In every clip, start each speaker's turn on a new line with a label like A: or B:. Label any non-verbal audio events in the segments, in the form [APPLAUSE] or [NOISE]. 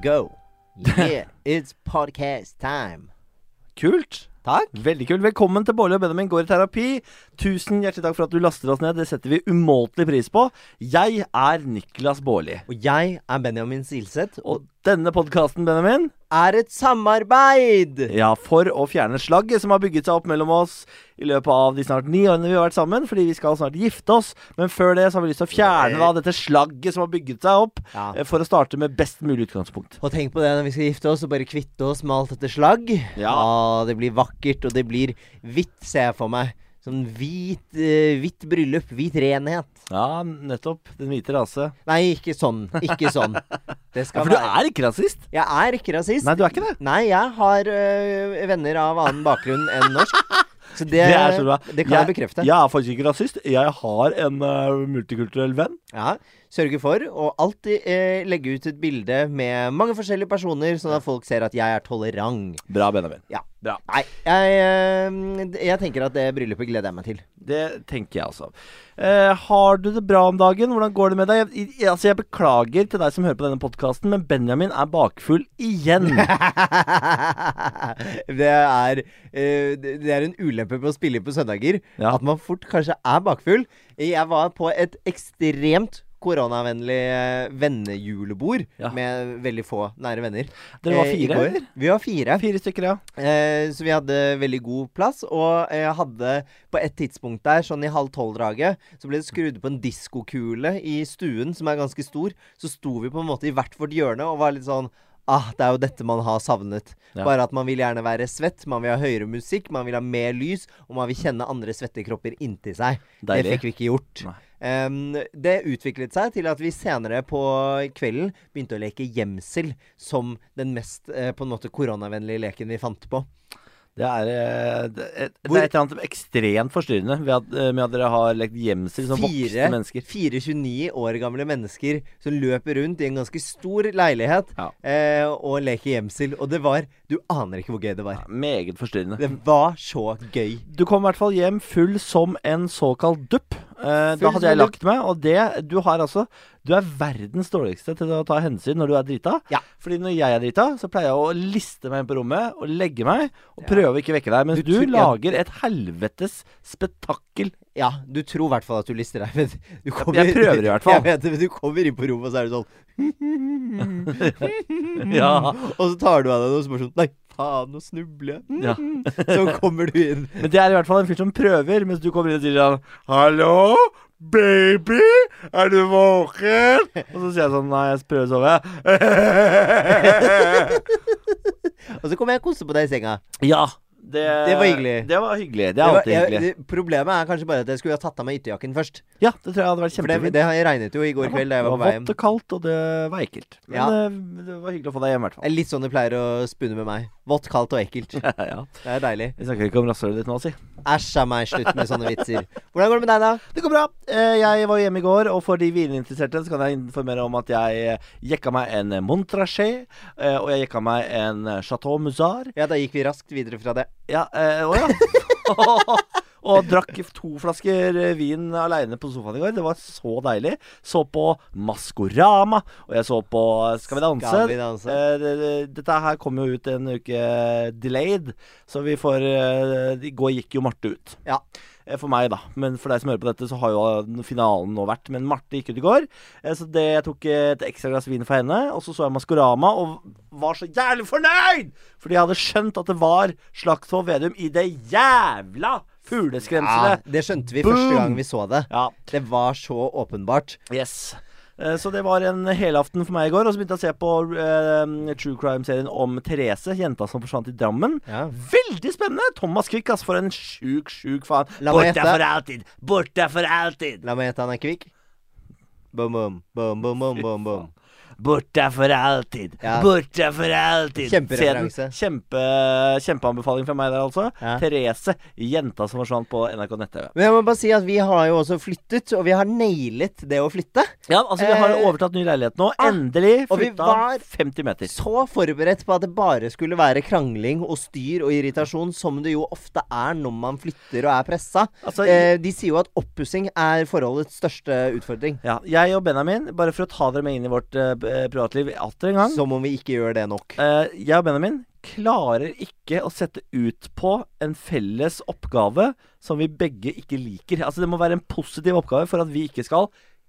A: go. [LAUGHS] Yeah, it's podcast time.
B: Kult.
A: Takk.
B: Veldig kult. Velkommen til Bårli og Benjamin går i terapi. Tusen hjertelig takk for at du laster oss ned. Det setter vi umåtelig pris på. Jeg er Niklas Bårli.
A: Og jeg er Benjamin Silseth, og
B: Og denne podkasten, Benjamin,
A: er et samarbeid!
B: ja, for å fjerne slagget som har bygget seg opp mellom oss i løpet av de snart ni årene vi har vært sammen, fordi vi skal snart gifte oss. Men før det så har vi lyst til å fjerne da dette slagget som har bygget seg opp,
A: Ja.
B: eh, for å starte med best mulig utgangspunkt.
A: Og tenk på det når vi skal gifte oss og bare kvitte oss med alt dette slagg.
B: Ja.
A: Ah, det blir vakkert, og det blir hvitt, ser jeg for meg. Sånn hvit, eh, hvitt bryllup, hvit renhet.
B: Ja, nettopp. Den hvite rase.
A: Nei, ikke sånn. Ikke sånn.
B: [LAUGHS]
A: Det
B: Ja,
A: skal
B: for du
A: være
B: er ikke rasist.
A: Jeg er ikke rasist.
B: Nei, du er ikke det.
A: Nei, jeg har øh, venner av annen bakgrunn enn norsk.
B: [LAUGHS]
A: Så det,
B: Det er så bra.
A: det kan jeg bekrefte.
B: Jeg er faktisk ikke rasist. Jeg har en eh, multikulturell venn.
A: Ja, Sørge for å alltid eh, legge ut et bilde med mange forskjellige personer, sånn at folk ser at jeg er tolerant.
B: Bra, Benjamin.
A: Ja.
B: Bra.
A: Nei, jeg, eh, jeg tenker at det bryllupet gleder jeg meg til. [LAUGHS]
B: Det tenker jeg også. Eh, har du det bra om dagen? Hvordan går det med deg? Jeg, jeg, altså, jeg beklager til deg som hører på denne podkasten, men Benjamin er bakfull
A: [LAUGHS]
B: igjen.
A: det, er, eh, det det er en ulempe med å spille på søndager.
B: Ja.
A: At man fort kanskje er bakfull. Jeg var på et ekstremt koronavennlig eh, vennejulebord
B: Ja.
A: med veldig få nære venner.
B: Dere var
A: eh, i
B: fire,
A: går.
B: eller?
A: Vi var fire.
B: Fire stykker, ja.
A: Eh, så vi hadde veldig god plass, og jeg hadde på et tidspunkt der, sånn i halv tolv-draget, så ble det skrudd på en diskokule i stuen, som er ganske stor. Så sto vi på en måte i hvert vårt hjørne og var litt sånn Ah, det er jo dette man har savnet.
B: Ja.
A: Bare at man vil gjerne være svett, man vil ha høyere musikk, man vil ha mer lys, og man vil kjenne andre svette kropper inntil seg. Det
B: Deilig.
A: fikk vi ikke gjort.
B: Nei.
A: Em, det utviklet seg til at vi senere på kvelden begynte å leke gjemsel som den mest eh, på en måte koronavennlige leken vi fant på.
B: Det er, eh, det, et, det
A: Hvor-
B: er et eller annet ekstremt forstyrrende ved at, eh, med at dere har lekt gjemsel som voksne mennesker.
A: 29 år gamle mennesker som løper rundt i en ganske stor leilighet
B: Ja.
A: eh, og leker gjemsel. Og det var Du aner ikke hvor gøy det var.
B: Meget forstyrrende.
A: Det var så gøy.
B: Du kom i hvert fall hjem full som en såkalt dupp. Eh, da
A: Full som
B: hadde jeg
A: en dupp.
B: lagt meg, og det Du har altså Du er verdens dårligste til å ta hensyn når du er drita.
A: Ja.
B: Fordi når jeg er drita, så pleier jeg å liste meg inn på rommet og legge meg og prøve å ikke vekke deg. Mens
A: Du
B: du,
A: tror- ja.
B: lager et helvetes
A: [LAUGHS]
B: spetakkel.
A: Ja, du tror i hvert fall at du lister deg, men du kommer
B: jeg prøver i hvert fall.
A: [LAUGHS] Jeg vet det, men du kommer inn på rommet, og så er du sånn
B: Ja.
A: Og så tar du av deg noe, og så bare sånn Nei, faen, nå snubler jeg.
B: ja. [LAUGHS]
A: Så kommer du inn.
B: Men det er i hvert fall en fyr som prøver, mens du kommer inn og sier sånn Hallo, baby, er du våken? Og så sier jeg sånn Nei, jeg prøver å sove. [LAUGHS]
A: Og så kommer jeg og koser på deg i senga.
B: Ja. Det,
A: Det var hyggelig.
B: Det var hyggelig. Det
A: Det
B: er
A: var,
B: alltid
A: jeg,
B: hyggelig.
A: det, problemet er kanskje bare at jeg skulle ha tatt av meg ytterjakken først.
B: Ja, det tror jeg hadde
A: For
B: vært
A: det,
B: kjempefint.
A: det regnet jo i går kveld da jeg
B: det
A: var
B: var
A: på vei hjem.
B: vått og kaldt, og det var ekkelt. Men
A: Ja.
B: eh, det var hyggelig å få deg hjem, i hvert
A: Det er litt sånn det pleier å spunne med meg. Vått, kaldt og ekkelt. Det
B: fall. [LAUGHS] ja.
A: er deilig.
B: Vi snakker ikke om rasshølet ditt nå, si.
A: Æsj av meg, slutt med sånne vitser. Hvordan går det med deg, da?
B: Det går bra. Eh, Jeg var hjemme i går, og for de vininteresserte så kan jeg informere om at jeg eh, jekka meg en Montrachet, eh, og jeg jekka meg en Chateau Musard.
A: Ja, da gikk vi raskt videre fra det.
B: Ja, eh, å ja. [LAUGHS] Og drakk to flasker eh, vin aleine på sofaen i går. Det var så deilig. Så på Maskorama, og jeg så på eh, Skal vi danse.
A: Skal vi danse?
B: Eh, det, det, dette her kom jo ut en uke delayed, så vi får eh, I går gikk jo Marte ut.
A: Ja.
B: Eh, For meg, da. Men for deg som hører på dette, så har jo eh, finalen nå vært. Men Marte gikk ut i går, eh, så det, jeg tok eh, et ekstra glass vin for henne. Og så så jeg Maskorama og var så jævlig fornøyd! Fordi jeg hadde skjønt at det var Slagsvold Vedum i det jævla
A: Ja,
B: fugleskremselet.
A: det skjønte vi
B: Boom!
A: første gang vi så det.
B: Ja.
A: Det var så åpenbart.
B: Yes. Eh, Så det var en helaften for meg i går. Og så begynte jeg å se på eh, true crime-serien om Therese, jenta som forsvant i Drammen.
A: Ja.
B: Veldig spennende! Thomas Quick, ass, for en sjuk, sjuk faen.
A: La meg
B: Borte
A: gjette.
B: for alltid! Borte for alltid!
A: La meg gjette, han er kvikk. Boom, boom, boom, boom, boom, boom, boom.
B: Borte for alltid!
A: Ja.
B: Borte for alltid!
A: Kjempereferanse.
B: Se den. Kjempe, kjempeanbefaling fra meg der, altså.
A: Ja.
B: Therese, jenta som forsvant på NRK nett-TV.
A: Men jeg må bare si at vi har jo også flyttet, og vi har nailet det å flytte.
B: Ja, altså, vi har
A: Eh,
B: overtatt ny leilighet nå.
A: ah,
B: Endelig
A: og vi
B: flytta
A: var-
B: 50 meter.
A: Så forberedt på at det bare skulle være krangling og styr og irritasjon, som det jo ofte er når man flytter og er pressa.
B: Altså,
A: eh, de sier jo at oppussing er forholdets største utfordring.
B: Ja, jeg og Benjamin, bare for å ta dere med inn i vårt eh, b- eh, privatliv atter en gang.
A: Som om vi ikke gjør det nok.
B: Eh, jeg og Benjamin klarer ikke å sette ut på en felles oppgave som vi begge ikke liker. Altså Det må være en positiv oppgave for at vi ikke skal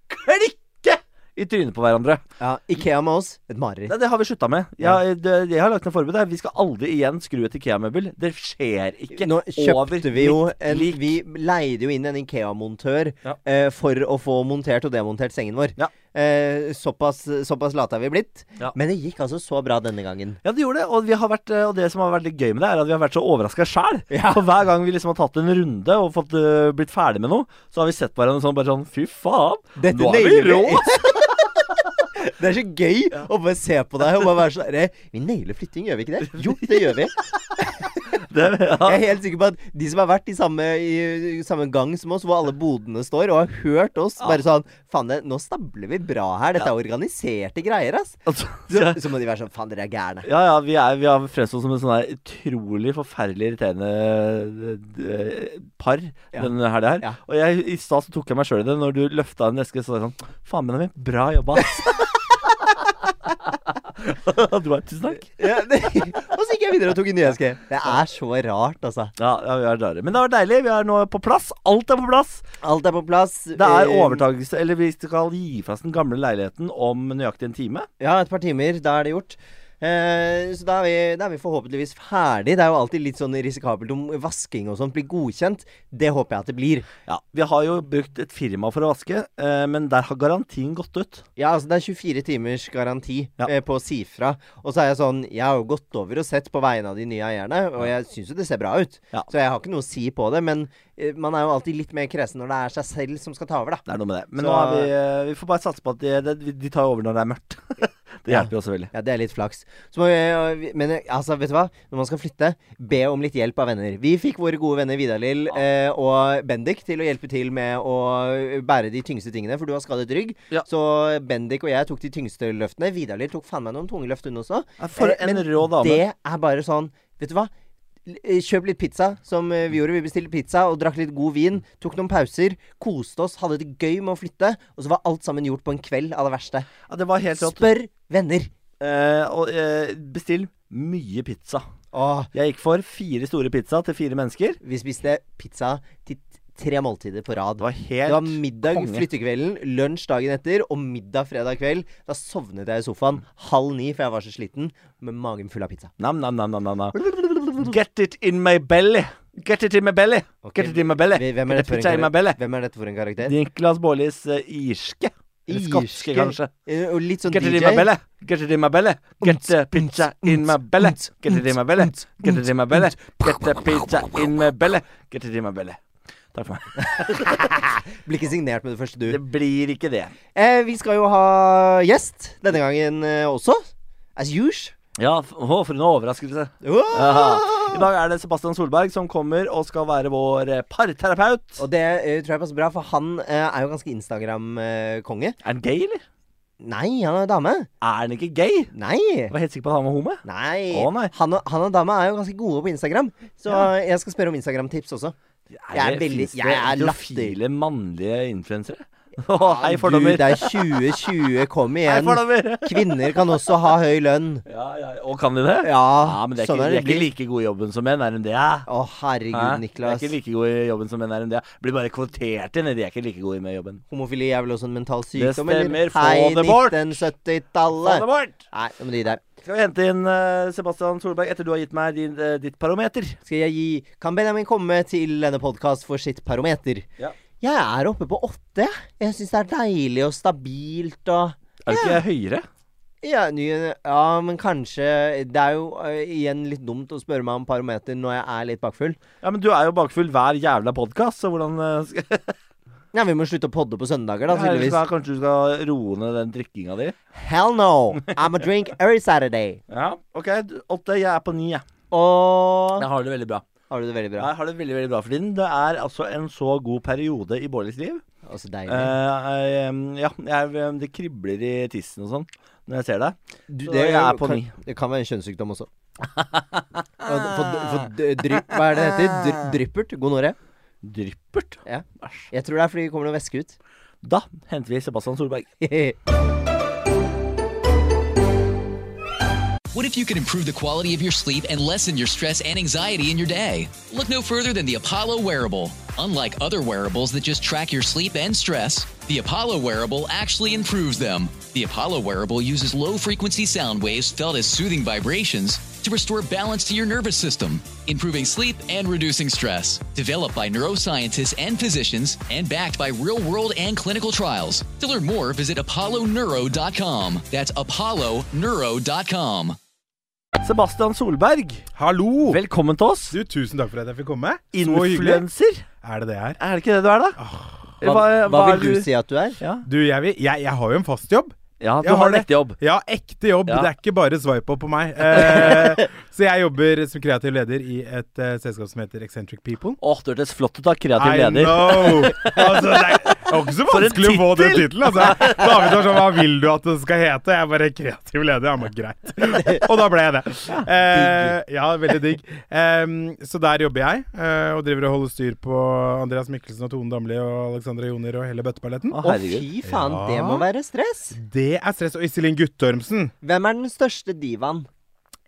B: klikke i trynet på hverandre.
A: Ja, Ikea med oss et mareritt.
B: Nei, det har vi slutta med. Jeg, det, jeg har lagt ned forbud. her. Vi skal aldri igjen skru et Ikea-møbel. Det skjer ikke.
A: Nå
B: over
A: kjøpte vi jo
B: mitt
A: en,
B: lik.
A: Vi leide jo inn en Ikea-montør
B: Ja.
A: eh, for å få montert og demontert sengen vår.
B: Ja.
A: Eh, såpass, såpass late er vi blitt.
B: Ja.
A: Men det gikk altså så bra denne gangen.
B: Ja, det gjorde det. Og, vi har vært, eh, og det som har vært litt gøy med det, er at vi har vært så overraska sjæl.
A: Ja.
B: For hver gang vi liksom har tatt en runde og fått, øh, blitt ferdig med noe, så har vi sett på hverandre sånn, bare sånn Fy faen,
A: Dette
B: nå er vi
A: nailer vi.
B: rå!
A: [LAUGHS] Det er så gøy å bare se på deg og bare være sånn herre, Vi nailer flytting, gjør vi ikke det? Jo, det gjør vi.
B: Det, ja.
A: Jeg er helt sikker på at de som har vært i samme, i, i samme gang som oss, hvor alle bodene står, og har hørt oss, bare sånn Faen, det- nå stabler vi bra her. Dette er organiserte greier, ass.
B: Altså,
A: Så, så må de være sånn Faen, dere er gærne.
B: ja, ja, vi, er, vi har fremstått som en sånn her utrolig forferdelig irriterende eh, par
A: Ja.
B: denne helga her.
A: Ja.
B: Og jeg, i stad så tok jeg meg sjøl i det. Når du løfta en eske, så var jeg sånn Faen, Benjamin, bra jobba,
A: [LAUGHS]
B: ass. [LAUGHS] du bare Tusen takk.
A: Ja, det, [LAUGHS] og så gikk jeg videre og tok en ny eske. Det er så rart, altså.
B: Ja, ja, vi er rare. Men det var deilig. Vi er nå på plass. Alt er på plass.
A: Alt er på plass.
B: Det er
A: Eh,
B: overtakelse Eller vi skal gi fra oss den gamle leiligheten om nøyaktig en time.
A: Ja, et par timer. Da er det gjort. Eh, så da er, vi, da er vi forhåpentligvis ferdig. Det er jo alltid litt sånn risikabelt om vasking og sånt blir godkjent. Det håper jeg at det blir.
B: Ja, Vi har jo brukt et firma for å vaske, eh, men der har garantien gått ut.
A: Ja, altså det er 24 timers garanti
B: Ja.
A: eh, på å si fra. Og så er jeg sånn Jeg har jo gått over og sett på vegne av de nye eierne, og jeg syns jo det ser bra ut.
B: Ja.
A: Så jeg har ikke noe å si på det, men eh, man er jo alltid litt mer kresen når det er seg selv som skal ta over, da.
B: Det er noe med det.
A: Så-
B: Men nå har vi, eh, vi får bare satse på at de, de, de tar over når det er mørkt. [LAUGHS] det
A: Ja.
B: hjelper jo også veldig.
A: Ja, det er litt flaks. Så må vi, men altså, vet du hva? Når man skal flytte, be om litt hjelp av venner. Vi fikk våre gode venner Vidar-Lill eh, og Bendik til å hjelpe til med å eh, bære de tyngste tingene, for du har skadet rygg.
B: Ja.
A: Så Bendik og jeg tok de tyngste løftene. Vidar-Lill tok faen meg noen tunge løft, hun også.
B: Ja, for
A: Eh,
B: en
A: men
B: rå dame.
A: Det er bare sånn Vet du hva? L- eh, Kjøp litt pizza, som eh, vi gjorde. Vi bestilte pizza og drakk litt god vin. Tok noen pauser. Koste oss. Hadde det gøy med å flytte. Og så var alt sammen gjort på en kveld av det verste.
B: Ja, det var helt rått.
A: Spør venner.
B: Eh, og eh, bestill mye pizza.
A: Åh,
B: Jeg gikk for fire store pizza til fire mennesker.
A: Vi spiste pizza til t- tre måltider på rad.
B: Det var
A: Det var
B: helt
A: middag
B: konge.
A: flyttekvelden, lunsj dagen etter og middag fredag kveld. Da sovnet jeg i sofaen halv ni, for jeg var så sliten, med magen full av pizza.
B: Nam-nam-nam-nam. Get it in my belly. Get it in my belly.
A: Ok,
B: Get it in my belly.
A: vi- Hvem er,
B: Get
A: dette
B: the
A: for en
B: pizza in my belly.
A: karakter? Hvem er dette for en karakter?
B: Niklas Baarlis eh, irske. Eller skotske,
A: Irske.
B: kanskje.
A: Eh, Og litt sånn
B: Get it in my
A: DJ.
B: belly. Get it in my belly. Get the pizza in my belly. Get it in my belly. Get it in my belly. Get the pizza in my belly. Get it in my belly. Takk for meg.
A: Blir ikke signert med det første,
B: Det
A: du.
B: blir ikke det.
A: Eh, vi skal jo ha gjest denne gangen eh, også. As usual.
B: Ja, f- å, for en overraskelse. Aha. [LAUGHS] I dag er det Sebastian Solberg som kommer og skal være vår eh, parterapeut.
A: Og det eh, tror jeg passer bra, for han eh, er jo ganske Instagram-konge.
B: Er han gay, eller?
A: Nei, han er dame.
B: Er han ikke gay?
A: Nei.
B: Jeg var helt sikker på at han var homo.
A: Nei.
B: Å, nei.
A: Han, og, han og dama er jo ganske gode på Instagram, så jeg skal spørre om Instagram-tips også. Jeg er veldig-
B: finnes det
A: jeg er
B: heterofile mannlige
A: [LAUGHS]
B: influensere? Å, hei, fordommer.
A: Gud, det er 2020. Kom
B: Hei,
A: igjen.
B: fordommer.
A: Kvinner kan også ha høy lønn.
B: Ja, ja, og kan de det?
A: Ja,
B: Ja, men det er,
A: sånn er
B: ikke,
A: det
B: de er ikke
A: blitt.
B: like gode i jobben som menn, er de det? ja?
A: Å, herregud,
B: Hæ?
A: Niklas.
B: De er ikke like gode i jobben som menn, er de det? Blir bare kvotert inn, de er ikke like gode med jobben.
A: Homofili er vel også en mental sykdom,
B: stemmer. Få
A: Hei,
B: det bort.
A: 1970-tallet.
B: bort!
A: Nei, nå må du gi deg.
B: Skal vi hente inn eh, Sebastian Solberg etter du har gitt meg din, eh, ditt parometer?
A: Skal jeg gi Kan Benjamin komme til denne podkast for sitt parometer?
B: Ja.
A: Jeg er oppe på åtte. jeg. Jeg syns det er deilig og stabilt og
B: Er du ikke høyere?
A: Ja, ny, ja, men kanskje Det er jo eh, igjen litt dumt å spørre meg om parometer når jeg er litt bakfull.
B: Ja, men du er jo bakfull hver jævla podkast, så hvordan eh, [LAUGHS] skal
A: Ja, Vi må slutte å podde på søndager, da,
B: Ellers
A: tydeligvis.
B: da Kanskje du skal roe ned den drikkinga di?
A: Hell no! I'm a drink every Saturday.
B: Ja, OK. du- Åtte. Jeg er på ni, jeg.
A: Og
B: Jeg har det veldig bra.
A: Har du det veldig bra?
B: Jeg har det veldig, veldig bra for tiden. Det er altså en så god periode i Bårlis liv.
A: Å, så deilig.
B: Eh, em, ja, jeg, em, det kribler i tissen og sånn når jeg ser deg.
A: Du,
B: så
A: det,
B: jeg er på
A: kan,
B: ni.
A: det kan være en kjønnssykdom også. [LAUGHS] Og d- For, for d- drypp Hva er det det heter? Dry, dryppert? Gonoré?
B: Dryppert.
A: Ja.
B: Æsj.
A: Jeg [LAUGHS] tror det er fordi det kommer noe væske ut.
B: Da henter vi Sebastian Solberg.
C: What if you could improve the quality of your sleep and lessen your stress and anxiety in your day? Look no further than the Apollo wearable. Unlike other wearables that just track your sleep and stress, the Apollo wearable actually improves them. The Apollo wearable uses low frequency sound waves felt as soothing vibrations to restore balance to your nervous system, improving sleep and reducing stress. Developed by neuroscientists and physicians and backed by real world and clinical trials. To learn more, visit apolloneuro.com. That's apolloneuro.com.
B: Sebastian Solberg,
A: Oh.
D: Hallo!
B: velkommen til oss.
D: Du, tusen takk for at jeg fikk komme. Så hyggelig.
B: Influenser?
D: Er det det jeg er?
B: Er det ikke det du er, da? Eller
A: Hva, hva
B: er
A: vil du si at du er?
B: Ja,
D: Du, jeg, vil, jeg, jeg har jo en fast jobb.
B: ja du
D: Jeg
B: har
D: har
B: en
D: det.
B: ekte jobb.
D: Jeg har ekte jobb.
B: Ja.
D: Det er ikke bare swipe opp på
B: [LAUGHS]
D: meg. Eh, så jeg jobber som kreativ leder i et eh, selskap som heter Eccentric People.
B: Åh, det hørtes flott ut av kreativ leder.
D: know!
A: [LAUGHS]
D: Altså, det er det var ikke så
B: For en
D: vanskelig å få den
B: tittel!
D: tittelen. Altså. David var sånn Hva vil du at det skal hete? Jeg bare kreativ leder. Ja, men
A: [LAUGHS]
D: greit. Og da ble jeg det. Eh, ja, veldig digg. Em, så der jobber jeg, eh, og driver og holder styr på Andreas Mikkelsen og Tone Damli og Alexandra Joner og hele bøtteballetten.
B: Å,
A: Å,
B: herregud.
A: fy faen, det må være stress.
D: Det er stress. Og Iselin Guttormsen.
A: Hvem er den største divaen?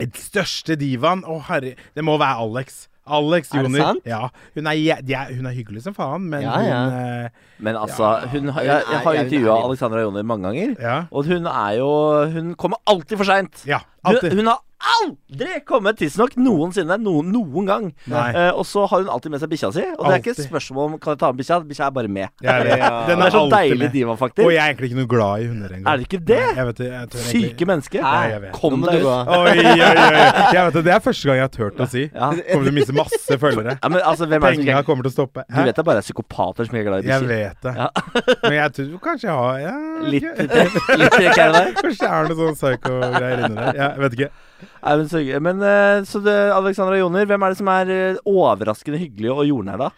D: Den største divaen. Å, herre Det må være Alex. Alex
A: Er det
D: Joner.
A: sant?
D: Ja. Hun er, jæ- de er, hun er hyggelig som faen, men
A: Ja, ja.
D: hun eh,
B: Men altså, hun, har- jeg, jeg
A: Hun
B: har
A: er-
B: intervjua
A: hun er-
B: Alexandra Joner mange ganger,
D: Ja.
B: og hun er jo Hun kommer alltid for seint.
D: Ja.
B: Hun,
D: Alltid.
B: hun har aldri kommet tidsnok noensinne. Noen, noen gang.
D: Nei.
B: Eh, og så har hun alltid med seg bikkja si. Og det er ikke et
D: Alltid.
B: spørsmål om kan jeg ta med bikkja. Bikkja er bare med.
D: Jeg er-
A: Ja.
D: Den
B: Det er så
D: alltid
B: deilig
D: med.
B: diva,
D: Og
B: faktisk.
D: jeg er egentlig ikke noe glad i hunder engang.
B: Er det ikke det?
D: Nei, Jeg vet, det, jeg tør
B: Syke
D: egentlig-
B: menneske.
D: Nei, jeg vet.
A: Nå
B: Kom
A: må du
B: deg
A: gå.
B: ut.
D: Oi, oi, oi. Jeg vet det, det er første gang jeg har turt å si.
B: Ja.
D: Kommer til å miste masse følgere.
B: Ja, men altså, hvem er det som
D: Penga
B: ikke
D: kommer til å stoppe.
B: Du
D: Hæ?
B: vet det er bare psykopater som ikke er glad i
D: Jeg
B: bikkjer.
D: vet det.
B: Ja.
D: Men jeg tror kanskje jeg har ja,
B: Litt,
D: ok.
B: litt [LAUGHS] trekk her og der.
D: Kanskje det er noe sånn psycho-greier inni der. Ja, Jeg vet ikke.
B: Nei, men, så, hyggelig. men eh, så det, Alexandra Joner, hvem er det som er eh, overraskende hyggelig og jordnær, da?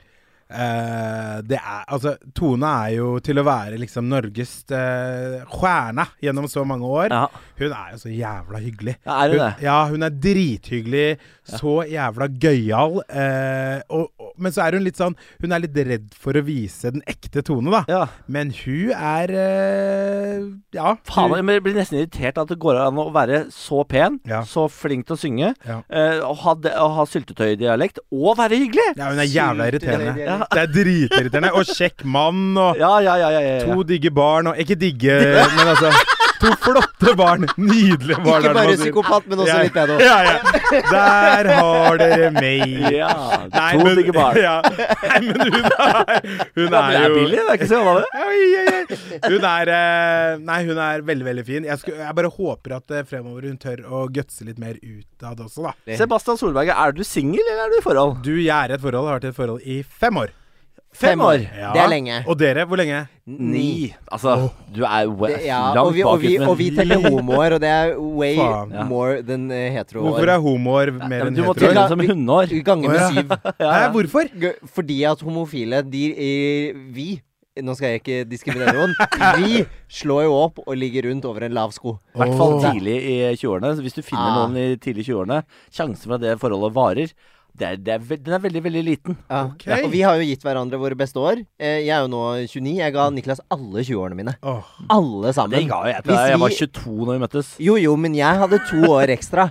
D: Eh, det er, altså, Tone er jo til å være liksom Norges uh, stjerne gjennom så mange år.
B: Ja.
D: Hun er jo så jævla hyggelig.
B: Ja, er hun det?
D: Ja, hun er drithyggelig. Så jævla gøyal. eh, og, og, men så er hun litt sånn Hun er litt redd for å vise den ekte Tone, da.
B: Ja.
D: Men hun er eh, Ja.
B: Faen,
D: hun-
B: jeg blir nesten irritert at det går an å være så pen,
D: Ja.
B: så flink til å synge,
D: Ja.
B: eh, og ha, de- og ha syltetøydialekt, og være hyggelig!
D: ja, hun er jævla irriterende.
A: Ja.
D: Det er dritirriterende. Og kjekk mann, og
B: Ja, ja, ja. ja, ja, ja.
D: to digge barn, og ikke digge, men altså To flotte barn. Nydelige
A: Ikke
D: barn. er det man
A: bare
D: sier.
A: psykopat, men også
D: Ja,
A: litt pedo.
D: Ja, ja. Der har dere meg.
B: ja.
D: Nei,
B: to
D: men-
B: digge barn.
D: [LAUGHS] Ja. Nei, men hun er, hun
B: Det
D: er
B: er
D: jo
B: billig, det er ikke så gammel, det.
D: Oi, oi, oi. Hun er eh, Nei, hun er veldig, veldig fin. Jeg, skulle, jeg bare håper at eh, fremover hun tør å gutse litt mer utad også, da.
B: Sebastian Solberg, er du singel, eller er du i forhold?
D: Du, jeg er i et forhold. Jeg har vært i et forhold i fem år.
A: Fem år.
D: Ja.
A: Det er lenge.
D: Og dere, hvor lenge?
B: Ni. Altså, du er we-
A: Det- Ja,
B: langt
A: og vi, og, vi,
B: bak ut, men-
A: og vi teller homoer, og det er way
D: Faen. Ja.
A: more than eh, hetero.
D: Hvorfor er homoer
B: Ja,
D: mer
B: men
D: enn
B: du må telle
D: hetero?
B: dem som hundeår.
A: Ganger med
B: [LAUGHS]
D: Å, [LAUGHS] ja.
A: syv.
D: Hæ, hvorfor?
A: G- Fordi at homofile, de eh, Vi Nå skal jeg ikke diskriminere
B: [LAUGHS]
A: noen. Vi slår jo opp og ligger rundt over en lav sko.
B: I hvert fall
D: Åh.
B: tidlig i 20-årene. Så Hvis du finner
A: Ah.
B: noen i tidlig 20-årene, sjansen for at det forholdet varer, det er, det er, ve- den er veldig, veldig liten.
A: Ja.
D: Ok.
A: Og vi har jo gitt hverandre våre beste år. Eh, Jeg er jo nå 29. Jeg ga Niklas alle 20-årene mine.
D: Åh.
A: Alle sammen.
B: Det ga jo jeg til
A: Hvis
B: deg. Jeg var
A: vi-
B: 22 når vi møttes.
A: Jo, jo, men jeg hadde to år ekstra.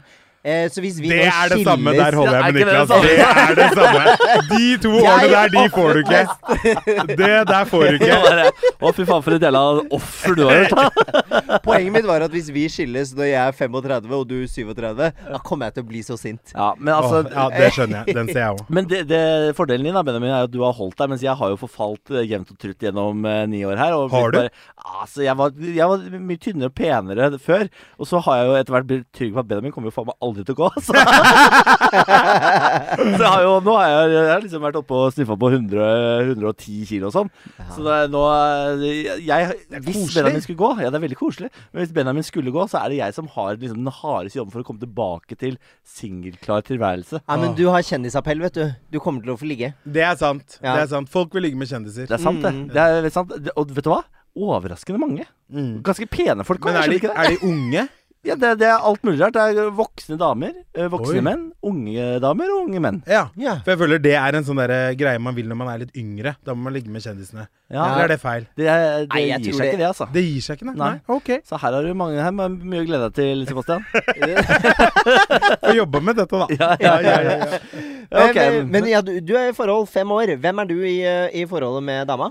A: Eh, så hvis vi
D: Det
A: nå
D: er det samme.
A: skilles-
D: Der holder jeg med
B: Det er
D: Niklas.
B: ikke det
D: Det er det samme. De
B: [LAUGHS]
D: to årene der, de får du ikke. [LAUGHS] Det der får
B: [LAUGHS]
D: du ikke.
B: Det var det. Å, fy faen, for et del av offer du har gjort, da.
A: Poenget mitt var at hvis vi skilles når jeg er 35 og du 37, da kommer jeg til å bli så sint.
B: Ja, men
D: Åh,
B: altså
D: ja, det skjønner jeg. Den ser jeg òg.
B: men det, det, fordelen din da, Benjamin, er at du har holdt deg, mens jeg har jo forfalt eh, jevnt og trutt gjennom eh, ni år her. Og
D: Har
B: blitt Bare, altså, jeg var, jeg var mye tynnere og penere før, og så har jeg jo etter hvert blitt trygg på at Benjamin kommer jo faen meg aldri til å gå. [LAUGHS] Så, så jeg har jo, nå har jeg, jeg har liksom vært oppe og sniffa på 100, 110 kilo og sånn. Så det er nå eh, jeg, jeg, Hvis
D: koselig.
B: Benjamin skulle gå, ja, det er veldig koselig, men hvis Benjamin skulle gå, så er det jeg som har liksom, den hardeste jobben for å komme tilbake til singelklar tilværelse.
A: Ja, men du har kjendisappell, vet du. Du kommer til å få ligge.
D: Det er sant.
A: Ja.
D: Det er sant. Folk vil ligge med kjendiser.
B: Det er sant,
A: Mm.
B: det. det er
A: Mm.
B: veldig sant. Det- Og vet du hva? Overraskende mange. Ganske pene folk.
D: Men
B: også,
D: er
B: skjønner du
D: de,
B: ikke det?
D: er de unge?
B: Ja, det, det er alt mulig rart. Det er voksne damer, eh, voksne
D: Oi.
B: menn, unge damer og unge menn.
D: Ja.
A: Ja.
D: For jeg føler det er en sånn der greie man vil når man er litt yngre. Da må man ligge med kjendisene.
B: Ja.
D: Eller er det feil?
B: Det, det
A: Nei, jeg
B: gir
A: tror
B: seg
A: det-
B: ikke, det, altså.
D: Det gir seg ikke, nei?
B: Nei.
D: Ok.
B: Så her har du mange her med mye å glede deg til,
A: [LAUGHS]
B: Sebastian. Eh,
D: Få jobbe med dette, da.
B: [LAUGHS] Ja, ja, ja,
D: ja.
B: Ok.
A: Men, Eh, men ja, du, du er i forhold fem år. Hvem er du i, eh, i forholdet med dama?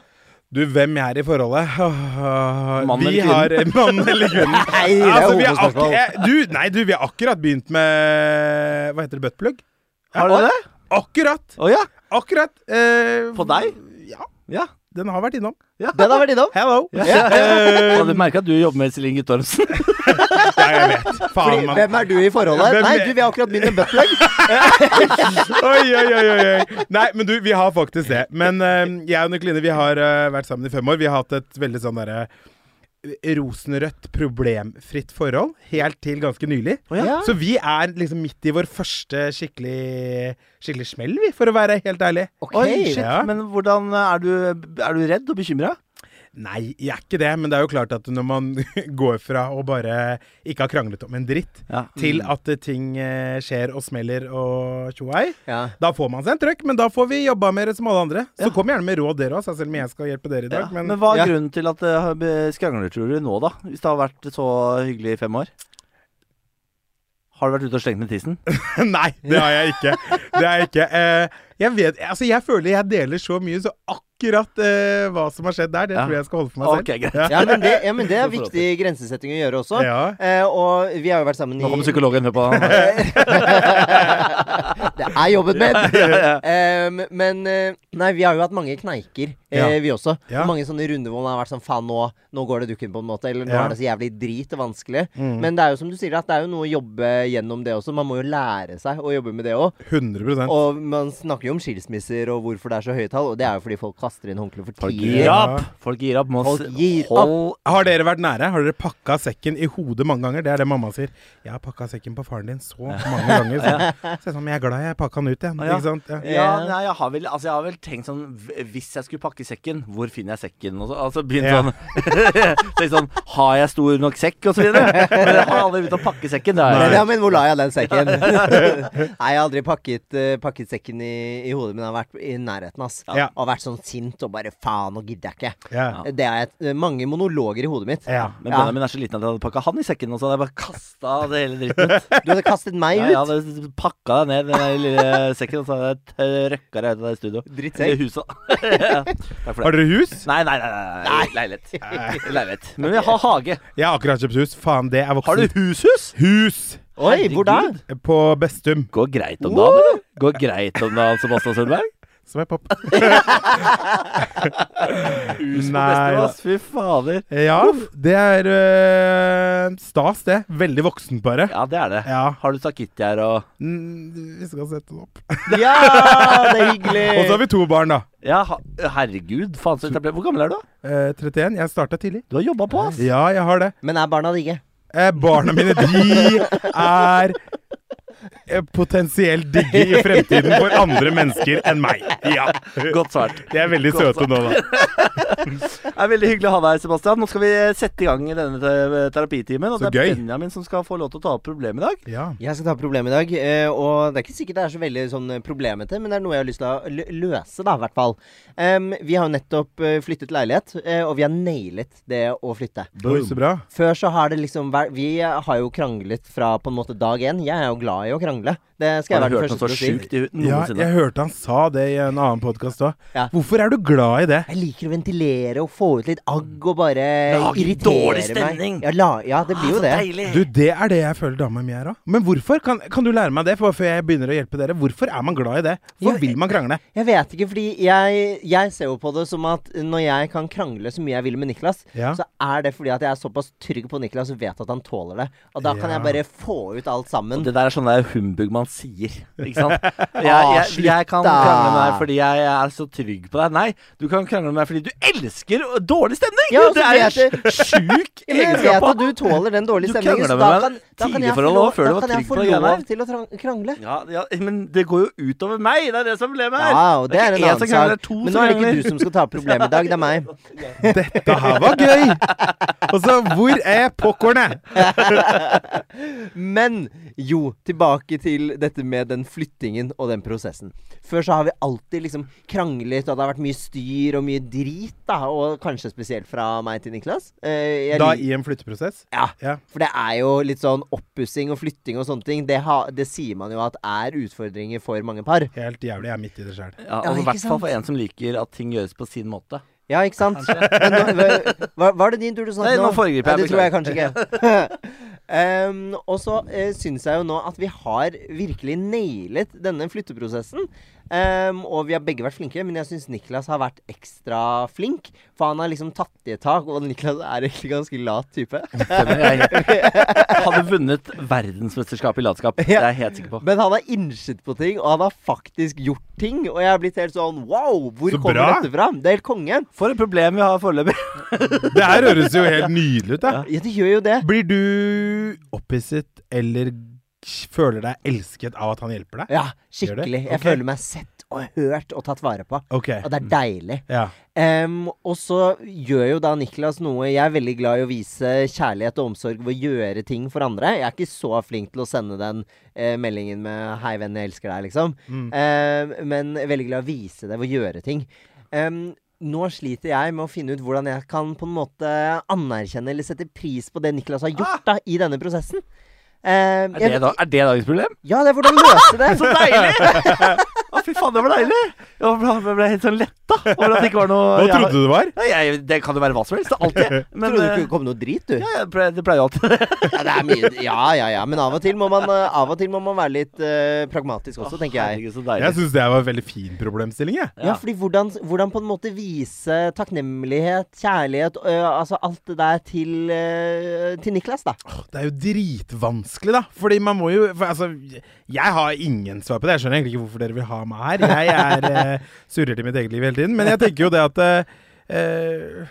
D: Du, hvem jeg er i forholdet? Åh,
B: Mann
D: vi
B: eller kvinne?
D: Har, mann
B: [LAUGHS]
D: eller kvinne?
A: Nei, det er
D: Altså,
B: altså,
D: vi har
A: homospørsmål.
D: akkur- du, nei, du, vi har akkurat begynt med Hva heter det? Buttplug?
B: Har du det?
D: Akkurat!
B: Å ja.
D: Akkurat! eh,
B: På deg?
D: Ja.
B: Ja.
D: Den har vært innom.
A: Den har vært innom.
D: Hello!
B: Ja.
D: Eh,
B: Hadde du merka at du jobber med Celine Guttormsen?
D: ja, jeg vet. Faen, mann.
A: Hvem er du i forholdet?
D: Hvem er-
A: Nei, du, vi har akkurat begynt med buttplug.
D: Oi, oi, oi, oi. oi. Nei, men du, vi har faktisk det. Men eh, jeg og Nikoline vi har eh, vært sammen i fem år. Vi har hatt et veldig sånn derre eh, rosenrødt, problemfritt forhold helt til ganske nylig.
A: Ja.
D: Så vi er liksom midt i vår første skikkelig, skikkelig smell, vi, for å være helt ærlig.
A: Ok.
B: Oi, shit.
D: Ja.
B: Men hvordan eh, er du, er du redd og bekymra?
D: Nei, jeg er ikke det, men det er jo klart at når man [LAUGHS] går fra å bare ikke ha kranglet om en dritt,
B: Ja.
D: til at eh, ting eh, skjer og smeller og tjoei,
A: Ja.
D: da får man seg en trøkk, men da får vi jobba mer som alle andre. Så kom gjerne med råd dere også, selv om jeg skal hjelpe dere
B: Ja.
D: i dag.
B: Men,
D: Men,
B: hva er
A: ja.
B: grunnen til at det har be- skrangler, tror du, nå, da? Hvis det har vært så hyggelig i fem år? Har du vært ute og slengt med tissen?
D: [LAUGHS] nei, det har jeg ikke. Det har jeg ikke. Eh, jeg vet Altså, jeg føler jeg deler så mye, så akkurat eh, hva som har skjedd der, det
B: Ja.
D: tror jeg jeg skal holde for meg selv.
B: Ok, greit.
A: Ja, men det, ja, men det er viktig grensesetting å gjøre også.
D: Ja.
A: Eh, og vi har jo vært sammen i
B: Nå kommer psykologen med på han.
A: Det er jobben min!
B: [LAUGHS] ja.
A: Em, men eh, Nei, vi har jo hatt mange kneiker, eh,
D: Ja.
A: vi også.
D: Ja.
A: Mange sånne runder hvor man har vært sånn faen, nå, nå går det dukken, på en måte. Eller nå
D: Ja. Mm.
A: er det så jævlig drit og vanskelig. Men det er jo som du sier, at det er jo noe å jobbe gjennom det også. Man må jo lære seg å jobbe med det òg.
D: 100
A: Og man snakker jo om skilsmisser og hvorfor det er så høye tall, og det er jo fordi folk kaster inn håndkleet for
B: Folk
A: tidlig.
B: gir opp! Folk gir opp. Må
A: Folk
B: s-
A: gir opp.
B: hold
D: Har dere vært nære? Har dere pakka sekken i hodet mange ganger? Det er det mamma sier. Jeg har pakka sekken på faren din så mange
B: [LAUGHS]
D: ganger. Så, så jeg, er sånn, men jeg er glad jeg pakka den ut, jeg.
B: ja.
D: Ikke sant? Ja.
B: Ja, nei, jeg har vel, altså, jeg har vel tenkt sånn v- Hvis jeg skulle pakke sekken, hvor finner jeg sekken? Og så, altså begynt
D: Ja.
B: sånn [LAUGHS] Tenkt sånn Har jeg stor nok sekk? Og så videre. Men jeg har aldri begynt å pakke sekken. Det har
A: Men,
B: jeg.
A: ja, men hvor la jeg den sekken? [LAUGHS] Nei, jeg har aldri pakket, eh, pakket sekken i, i hodet, men jeg har vært i nærheten, ass.
D: Ja.
A: Og vært sånn sint og bare faen, nå gidder jeg ikke.
D: Ja.
A: Det er et, mange monologer i hodet mitt.
D: Ja.
B: Men
A: Ja.
B: Benjamin er så liten at jeg hadde pakka han i sekken, og så hadde jeg bare kasta det hele dritten ut.
A: Du hadde kastet meg
B: Ja,
A: ut.
B: jeg hadde pakka deg ned i den der lille sekken, og så hadde jeg røkka deg ut av det studio.
A: Drittsekk.
B: Eller huset. [LAUGHS] Ja. Takk for det.
D: Har dere hus?
B: Nei, nei, nei. nei, nei. [LAUGHS] Leilighet. Leilighet. Men vi har hage.
D: Jeg har akkurat kjøpt hus. Faen, det er
B: Har
D: voksent.
B: du hushus?
D: Hus
A: Oi, hvor
B: [LAUGHS]
A: da?
B: Herregud.
D: på Bestum,
B: Går greit om dagen, eller? Går greit om dagen, Sebastian [LAUGHS] Sundberg?
D: som er pop.
B: Hus på
D: Nei, da.
B: Vesterås, fy fader.
D: Ja, det er øh, stas, det. Veldig voksen, bare.
B: Ja, det er det.
D: Ja.
B: Har du sakitti her og
D: Mm, Vi skal sette den opp.
A: Ja, det er hyggelig.
B: Eh.
D: Og så har vi to barn, da.
B: Ja, ha- herregud, faen så etablert. Hvor gammel er du? da?
D: Eh, 31. Jeg starta tidlig.
B: Du har jobba på, ass.
D: Ja, jeg har det.
A: Men er barna digge?
D: Eh, barna mine, de er eh, potensielt digge i fremtiden for andre mennesker enn meg. Ja.
B: [LAUGHS] Godt svart.
D: De er veldig
B: Godt
D: søte nå, da.
B: Det er veldig hyggelig å ha deg her, Sebastian. Nå skal vi sette i gang denne te- terapitimen. Og
D: Så
B: det er
D: gøy.
B: Benjamin som skal få lov til å ta opp problemet i dag.
D: Ja.
A: Jeg skal ta problemet i dag, eh, og det er ikke sikkert det er så veldig sånn problemete, men det er noe jeg har lyst til å lø- løse, da, i hvert fall. Em, vi har jo nettopp eh, flyttet leilighet, eh, og vi har nailet det å flytte.
D: Oi, så bra.
A: Før så har det liksom vært Vi har jo kranglet fra på en måte dag én. Jeg er jo glad i å krangle. Det skal jeg være
B: Har du
A: den
B: hørt noe
A: første til å
B: så
A: si.
B: sjukt i-
D: Ja,
B: noensinne?
D: jeg hørte han sa det i en annen podkast òg.
A: Ja.
D: Hvorfor er du glad i det?
A: Jeg liker å ventilere og få ut litt agg og bare
B: Lage
A: irritere
B: dårlig stemning. Ah,
A: meg. Ja, la, ja, det blir jo det.
B: Deilig.
D: Du, Det er det jeg føler dama mi er òg. Men hvorfor? Kan, kan du lære meg det for, før jeg begynner å hjelpe dere? Hvorfor er man glad i det?
A: Ja,
D: Hvorfor vil man krangle?
A: Jeg vet ikke, fordi jeg, jeg ser jo på det som at når jeg kan krangle så mye jeg vil med Niklas,
D: Ja.
A: så er det fordi at jeg er såpass trygg på Niklas og vet at han tåler det. Og da kan jeg
D: Ja.
A: bare få ut alt sammen.
B: Det der er sånn der er jo humbug man sier. Ikke
A: [LAUGHS]
B: sant? Jeg, jeg, jeg kan
A: slutt da.
B: krangle med deg fordi jeg er så trygg på deg. Nei, du kan krangle med meg fordi du elsker dårlig stemning!
A: Ja, altså, og så
B: det er
A: vet
B: en
A: [LAUGHS]
B: sjuk
A: Men jeg vet
B: egenskap.
A: at du tåler den dårlige
B: Du
A: stemningen, så da
B: kranglet med meg
A: kan, da kan jeg
B: tidlig
A: få
B: forhold
A: lov,
B: også, før du
A: da
B: var
A: kan jeg
B: trygg
A: få
B: på det greiene
A: lov
B: her.
A: til å trang- krangle.
B: Ja, ja, men det går jo utover meg! Det er det som er problemet her.
A: Ja, og det er en
B: ikke én
A: annen
B: som
A: sak.
B: krangler, det er to
A: Men
B: som
A: nå er det ikke
B: krangler.
A: du som skal ta opp problemet i dag, det er [LAUGHS] meg.
D: Dette her var gøy! Altså, hvor er popkornet?
A: Men jo, tilbake til dette med den flyttingen og den prosessen. Før så har vi alltid liksom kranglet, og det har vært mye styr og mye drit, da. Og kanskje spesielt fra meg til Niklas. Eh, jeg
D: Da
A: lik-
D: i en flytteprosess?
A: ja.
D: Ja.
A: For det er jo litt sånn oppussing og flytting og sånne ting. Det, ha, det sier man jo at er utfordringer for mange par.
D: Helt jævlig. Jeg er midt i det sjøl.
A: Ja,
B: Ja, altså, I
A: ikke
B: hvert fall
A: sant?
B: for en som liker at ting gjøres på sin måte.
A: Ja, ikke sant? Men, nå- hva- hva- var det din tur du snakket
B: Nei, nå foregriper
A: Nei, Det
B: jeg,
A: tror jeg kanskje
B: [LAUGHS]
A: ikke. Em, og så uh, syns jeg jo nå at vi har virkelig nailet denne flytteprosessen. Em, og vi har begge vært flinke, men jeg syns Niklas har vært ekstra flink. For han har liksom tatt i et tak, og Niklas er egentlig ganske lat type. [LAUGHS]
B: Stemmer, jeg er helt- Hadde vunnet verdensmesterskapet i latskap. Det er jeg helt sikker på.
A: Men han har innsett på ting, og han har faktisk gjort ting. Og jeg har blitt helt sånn wow, hvor
D: Så
A: kommer
D: bra.
A: dette fra? Det er helt konge.
B: For et problem vi har foreløpig.
D: Det her høres jo helt nydelig ut, da.
A: Ja, det gjør jo det.
D: Blir du opphisset eller k- føler deg elsket av at han hjelper deg?
A: Ja,
D: Gjør det?
A: skikkelig. Jeg
D: Ok.
A: føler meg sett og hørt og tatt vare på.
D: Ok.
A: Og det er deilig.
D: Ja.
A: Em, og så gjør jo da Niklas noe Jeg er veldig glad i å vise kjærlighet og omsorg ved å gjøre ting for andre. Jeg er ikke så flink til å sende den eh, meldingen med 'Hei, venn, jeg elsker deg', liksom.
D: Mm.
A: Em, men jeg er veldig glad i å vise det ved å gjøre ting. Em, nå sliter jeg med å finne ut hvordan jeg kan på en måte anerkjenne eller sette pris på det Niklas har
D: Ah!
A: gjort da, i denne prosessen. Em,
B: Er
A: jeg-
B: det, da, er det dagens problem?
A: Ja, det er hvordan løse
D: [LAUGHS]
A: det.
B: Så deilig! Å, fy faen, det var deilig! Jeg ble, jeg ble helt sånn letta over at det ikke var noe
D: Hva trodde du det var?
B: Ja, jeg, det kan jo være hva som helst. det er Alltid. Men
A: Trodde det
B: eh,
A: skulle komme noe drit, du.
B: [LAUGHS] ja, jeg ple- det pleier jo alltid [LAUGHS]
A: Ja, det er mye Ja, ja, ja. Men av og til må man, eh, av og til må man være litt eh, pragmatisk også, tenker jeg.
B: Herregud, så deilig.
D: Jeg syns det var en veldig fin problemstilling, jeg.
A: Ja, fordi hvordan, hvordan på en måte vise takknemlighet, kjærlighet, ø, altså alt det der til, ø, til Niklas, da.
D: Det er jo dritvanskelig, da. Fordi man må jo for, Altså, jeg har ingen svar på det. Jeg skjønner egentlig ikke hvorfor dere vil ha meg her. Jeg er eh, surrer til mitt eget liv hele tiden. Men jeg tenker jo det at eh, eh,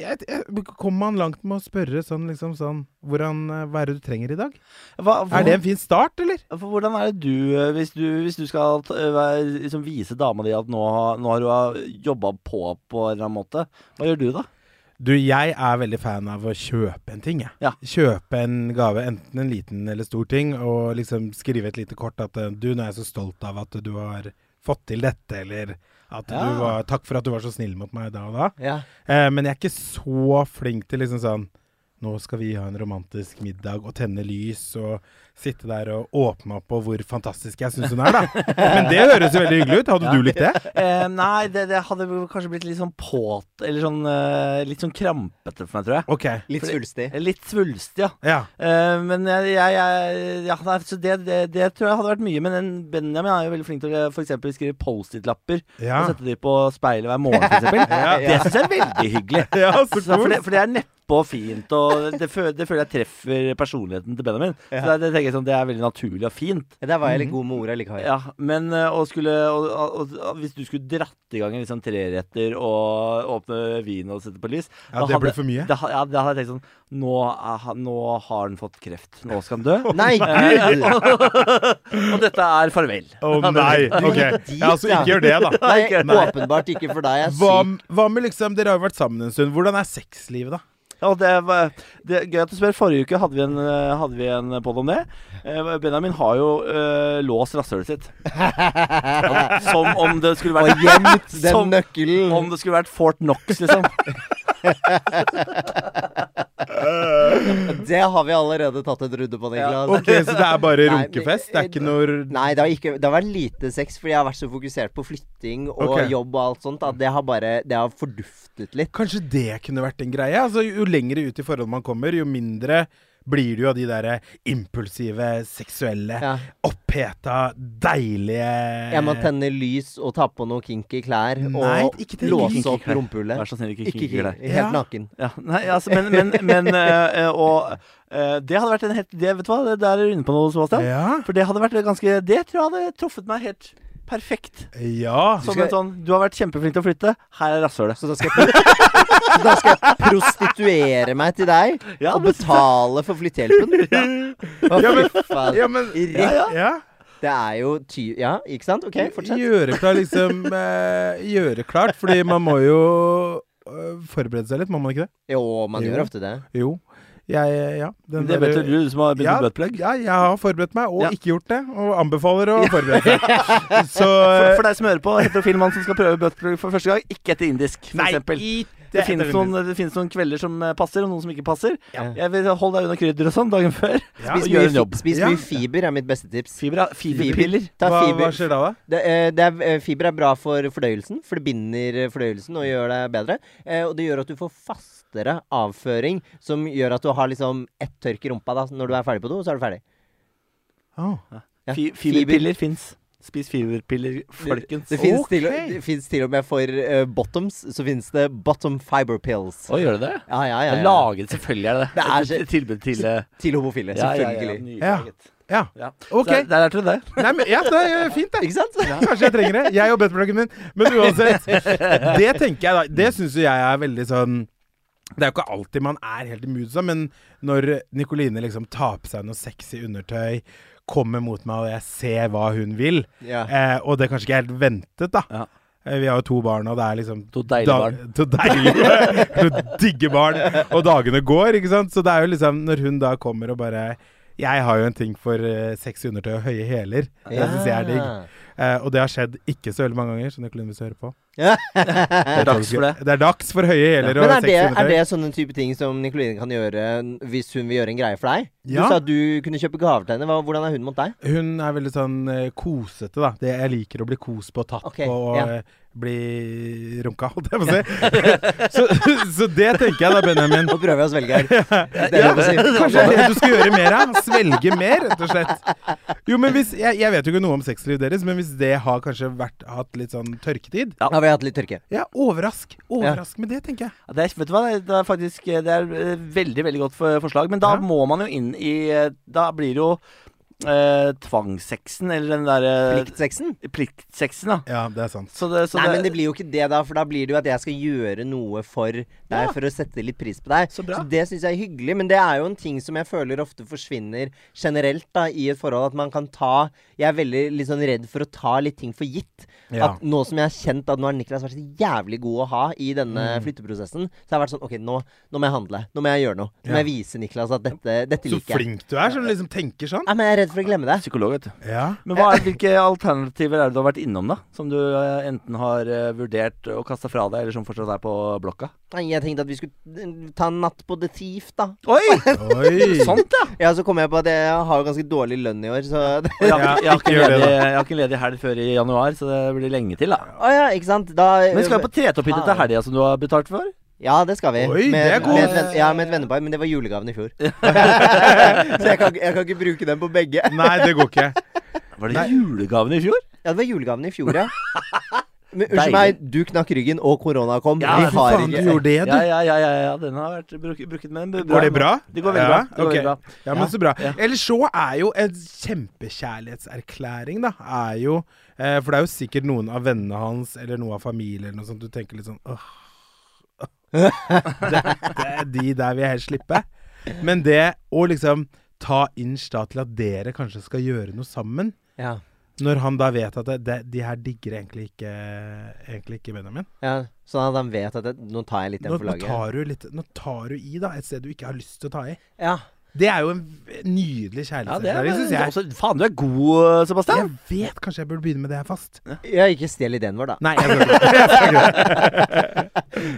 D: jeg, jeg, Kommer man langt med å spørre sånn liksom sånn Hvordan eh, Hva er det du trenger i dag?
B: Hva,
D: Er det en fin start, eller?
B: for hvordan er det du eh, Hvis du, hvis du skal eh, være- liksom, vise dama di at nå, har- nå har du jobba på på en eller annen måte, hva gjør du da?
D: Du, jeg er veldig fan av å kjøpe en ting, jeg.
B: Ja.
D: Kjøpe en gave, enten en liten eller stor ting, og liksom skrive et lite kort at eh, du, nå er jeg så stolt av at du har fått til dette, eller at
B: Ja.
D: du var Takk for at du var så snill mot meg da og da.
A: Ja.
D: Eh, men jeg er ikke så flink til liksom sånn Nå skal vi ha en romantisk middag og tenne lys og sitte der og åpne opp på hvor fantastisk jeg syns hun er, da. Men det høres jo veldig hyggelig ut. Hadde du likt det?
B: Eh, nei, det, det hadde vel kanskje blitt litt sånn påt Eller sånn eh, litt sånn krampete for meg, tror jeg.
D: OK.
A: Litt svulstig.
B: Litt svulstig, ja.
D: Ja.
B: Eh, men jeg, jeg, jeg ja, nei, så det, det, det tror jeg hadde vært mye. Men en Benjamin er jo veldig flink til å for eksempel skrive Post-It-lapper
D: Ja.
B: og sette de på speilet hver morgen. For
D: [LAUGHS]
B: eksempel. Det syns jeg er veldig hyggelig.
D: Ja, så
B: Så for,
D: cool.
B: det, for det er neppe og fint, og det, fø- det føler jeg treffer personligheten til Benjamin. Så det, det tenker jeg sånn, det er veldig naturlig og fint.
A: Der var jeg litt god med orda likevel.
B: Mhm. Ja, men eh, å skulle og, og, og, Hvis du skulle dratt i gang en liksom treretter og åpne vin og sette på lys
D: Ja,
B: da
D: det ble
B: hadde-
D: for mye.
B: Da, ha- ja, da hadde jeg tenkt sånn Nå, er han- nå har han fått kreft. Nå skal han dø.
A: Nei,
B: [LAUGHS]
A: gud!
B: og dette er farvel.
D: Å nei. OK. Ja, så ikke gjør det, da.
A: Nei,
B: ikke- nei.
A: åpenbart ikke for deg. Jeg er
D: Hva,
A: syk.
D: hva med liksom Dere har jo vært sammen en stund. Hvordan er sexlivet, da?
B: Ja, og det, var- det er gøy at du spør. Forrige uke hadde vi en, eh, hadde vi en podd om det. Eh, Benjamin har jo eh, låst rasshølet sitt. Og Som om det skulle vært
A: Og gjemt den
B: Som om
A: nøkkelen.
B: det skulle vært Fort Knox, liksom.
A: Det har vi allerede tatt et runde på, Niklas.
D: OK, så det er
A: Altså,
D: bare
A: [LAUGHS] Nei, men-
D: runkefest? Det er ikke noe
A: Nei, det har, ikke, det har vært lite sex, fordi jeg har vært så fokusert på flytting og
D: Ok.
A: jobb og alt sånt at det har bare Det har forduftet litt.
D: Kanskje det kunne vært en greie? Altså, Jo lengre ut i forhold man kommer, jo mindre blir du jo av de derre impulsive, seksuelle,
A: Ja.
D: oppheta, deilige
A: Jeg må tenne lys og ta på noen kinky klær
D: Eh. Nei,
A: og
D: ikke tenne
A: låse
D: kinky
A: opp
B: klær.
A: rumpehullet.
B: Vær så snill, ikke kinky klær.
A: Helt
D: Ja.
A: naken.
B: Ja, nei, altså, men, men, men eh, eh, Og eh, det hadde vært en helt det, Vet du hva, det der er du inne på noe, Sebastian.
D: Ja.
B: For det hadde vært ganske Det tror jeg hadde truffet meg helt perfekt.
D: Ja.
B: Som en sånn Du har vært kjempeflink til å flytte, her er rasshølet.
A: Så da skal, jeg pro så da skal jeg prostituere meg til deg
B: Ja,
A: og
B: men-
A: betale for flyttehjelpen? Ja. fy faen.
D: ja, men
A: Rett.
D: ja.
A: Det er jo ty... Ja, ikke sant? OK, fortsett.
D: Gjøre klar, liksom
A: [LAUGHS]
D: eh, Gjøre klart, fordi man må jo eh, forberede seg litt, må man ikke det?
A: Jo, man
D: Jo.
A: gjør ofte det.
D: Jo. Jeg, eh, ja.
B: [LAUGHS]
D: Den
B: Det vet
D: der-
B: jo du, du som har begynt
D: ja,
B: med buttplug.
D: ja, jeg har forberedt meg, og
B: Ja.
D: ikke gjort det. Og anbefaler å forberede
B: [LAUGHS]
D: seg. Så
B: For, for deg som hører på, heterofil mann som skal prøve buttplug for første gang, ikke etter indisk, for
D: Nei,
B: eksempel.
D: i-
B: Det
D: det
B: finnes,
D: heter
B: noen, det finnes noen kvelder som eh, passer, og noen som ikke passer.
A: Ja.
B: Jeg vil Hold deg unna krydder og sånn dagen før.
D: Ja.
B: Spis
A: Spis
B: mye
A: mye,
B: en
A: fi-
B: jobb.
A: spis
D: Ja.
A: mye fiber er mitt beste tips.
B: Fiber, er- fiberpiller.
A: Ta
D: hva,
A: fiber.
D: hva skjer da, da?
A: Det, eh, det er, eh, fiber er bra for fordøyelsen, for det binder eh, fordøyelsen og gjør deg bedre. Eh, og det gjør at du får fastere avføring, som gjør at du har liksom ett tørk i rumpa da, når du er ferdig på do, så er du ferdig.
D: Å.
A: Ja.
B: Fi, fiberpiller fins. Spis fiberpiller, folkens.
A: Det fins til,
D: Ok.
A: det finnes til og med for eh, bottoms, så finnes det bottom fiber pills.
B: Å, gjør det det?
A: Ja, ja, ja.
B: Det er
A: ja.
B: Laget, selvfølgelig er det det.
A: Det er
B: Et- et tilbud til eh,
A: Til homofile,
B: ja, ja, ja,
A: selvfølgelig.
B: nylaget.
D: Ja.
B: Ja. Så
D: Ok.
B: Der, der lærte du det.
D: Nei, men, ja, det er fint, det.
A: Ikke sant?
D: Kanskje jeg trenger det. Jeg og buttpluggen min. Men
B: [LAUGHS]
D: uansett. Det tenker jeg da. Det syns jo jeg er veldig sånn det er jo ikke alltid man er helt i mood, sånn, men når Nikoline liksom tar på seg noe sexy undertøy, kommer mot meg, og jeg ser hva hun vil,
A: Ja.
B: [LAUGHS]
D: eh, og det er kanskje ikke helt ventet, da.
B: Ja.
D: Eh, Vi har jo to barn, og det er liksom
B: To deilige barn.
D: To deilige, [LAUGHS] to digge barn. Og dagene går, ikke sant. Så det er jo liksom når hun da kommer og bare Jeg har jo en ting for eh, sexy undertøy og høye hæler. Det syns jeg er digg.
B: Ah.
D: Eh, og det har skjedd ikke så veldig mange ganger, så Nicolin, hvis du hører på
B: Det er dags Eh, for det.
D: Det er dags for høye hæler
A: Men
D: og
A: er
D: sexy
A: det, er
D: undertøy.
A: det sånne type ting som Nikoline kan gjøre hvis hun vil gjøre en greie for deg?
D: Ja.
A: Du sa at du kunne kjøpe gaver til henne. Hva- Hvordan er hun mot deg?
D: Hun er veldig sånn eh, kosete, da. Det, jeg liker å bli kost på og tatt
A: Ok,
D: på og
A: ja.
D: eh, bli runka, holdt jeg på å si. [LAUGHS] så, så det tenker jeg da, Benjamin.
A: [LAUGHS] Nå prøver jeg å svelge her. Det er lov å si.
D: Kanskje det er det du skal gjøre mer av? Svelge mer, rett og slett. Jo, men hvis, jeg, jeg vet jo ikke noe om sexlivet deres, men hvis det har kanskje vært, hatt litt sånn tørketid
A: Nå har vi hatt litt tørke.
D: Ja, overrask. Overrask med det, tenker jeg.
B: Ja, Det er, vet du hva, det er faktisk eh, det er eh, veldig veldig godt for, forslag, men da
D: Ja.
B: må man jo inn i eh, Da blir det jo eh, tvangssexen, eller den derre
A: Pliktsexen?
B: pliktsexen, da.
D: Ja, det er sant.
B: Så det, så
A: Nei, men det blir jo ikke det, da. For da blir det jo at jeg skal gjøre noe for deg for å sette litt pris på deg.
B: Så bra.
A: det syns jeg er hyggelig. Men det er jo en ting som jeg føler ofte forsvinner generelt da, i et forhold. At man kan ta Jeg er veldig litt sånn redd for å ta litt ting for gitt.
D: Ja.
A: At nå som jeg har kjent at nå har Niklas vært så jævlig god å ha i denne flytteprosessen, så har jeg vært sånn OK, nå, nå må jeg handle. Nå må jeg gjøre noe. Nå
D: Ja.
A: må jeg vise Niklas at dette, dette
D: Så
A: liker jeg.
D: flink du er, som liksom tenker sånn.
A: Nei, men jeg er redd for å glemme det.
B: Psykolog, vet du.
D: Ja.
B: Men hva er, hvilke alternativer er det du har vært innom, da? Som du eh, enten har eh, vurdert å kaste fra deg, eller som fortsatt er på blokka?
A: Nei, Jeg tenkte at vi skulle eh, ta en natt på The Thief, da.
B: Oi!
A: [LAUGHS]
D: Oi.
A: Sånn.
B: Sant, ja!
A: Ja, så kom jeg på at jeg har jo ganske dårlig lønn i år, så [LAUGHS]
B: Og Jeg har, ikke- jeg, har
D: ikke
B: ikke
D: gjør det,
B: ledig,
D: da.
B: jeg har ikke ledig helg før i januar, så det blir lenge til, da.
A: Å ja, ikke sant? Da
B: Men skal jo på Tretopphytta til helga, som du har betalt for?
A: Ja, det skal vi.
D: Oi,
A: med,
D: det er god.
A: med et venn- ja, med et vennepar, men det var julegaven i fjor. så jeg kan, ikke- jeg kan ikke bruke den på begge.
D: Nei, det går
A: [LAUGHS]
D: ikke.
B: Var det julegaven i fjor?
A: Ja, det var julegaven i fjor, ja. Men
B: Deilig.
A: unnskyld meg, du knakk ryggen, og korona kom.
B: Ja,
A: vi
B: fy
A: har
D: Faen, du
A: ikke
D: gjorde det, du.
B: Ja, ja, ja, ja, ja. den har vært bruk, brukt med den.
D: Går det bra?
B: Det går veldig bra. Det går
D: ok.
B: veldig bra.
D: Ja, men så bra.
B: Ja.
D: Ellers så er jo en kjempekjærlighetserklæring, da, er jo eh, For det er jo sikkert noen av vennene hans eller noe av familien eller noe sånt du tenker litt sånn åh. det, det, De der vil jeg helst slippe. Men det å liksom ta inch da til at dere kanskje skal gjøre noe sammen,
A: ja,
D: når han da vet at det, det, de her digger egentlig ikke, egentlig ikke Benjamin.
A: ja, Sånn at han vet at det, nå tar jeg litt den
D: Nå,
A: for
D: nå,
A: laget.
D: tar du litt, nå tar du i, da, et sted du ikke har lyst til å ta i.
A: Ja.
D: Det er jo en v- nydelig
B: Ja, det er,
D: kjærlighetserklæring, syns jeg.
B: også, faen, du er god, eh, Sebastian.
D: Jeg vet kanskje jeg burde begynne med det her fast.
A: ja, ikke stjel ideen vår, da.
D: Nei,
B: [LAUGHS]
D: jeg burde ikke.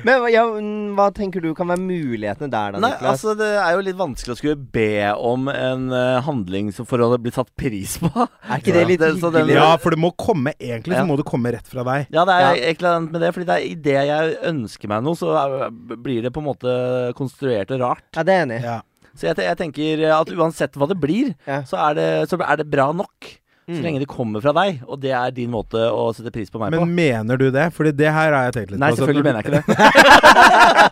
A: Men hva- ja, mm, hva tenker du kan være mulighetene der, da,
B: Nei,
A: Niklas?
B: altså Det er jo litt vanskelig å skulle be om en eh, handling som for å bli satt pris på.
A: er ikke det litt
B: Den- så Altså, den-
A: hyggelig?
D: Ja, for det må komme egentlig,
B: Ja.
D: så må det komme rett fra deg.
B: Ja, det er
A: Ja.
B: et eller annet med det. Fordi det er idet jeg ønsker meg noe, så er, blir det på en måte konstruert og rart.
A: Ja, det er jeg enig i.
D: Ja.
B: Så jeg, te- jeg tenker at uansett hva det blir,
A: Ja.
B: så, er det, så er det bra nok. Så
A: Mm.
B: lenge det kommer fra deg, og det er din måte å sette pris på meg
D: Men
B: på.
D: mener du det? Fordi det her har jeg tenkt litt
B: Nei,
D: på. så-
B: selvfølgelig mener jeg ikke det.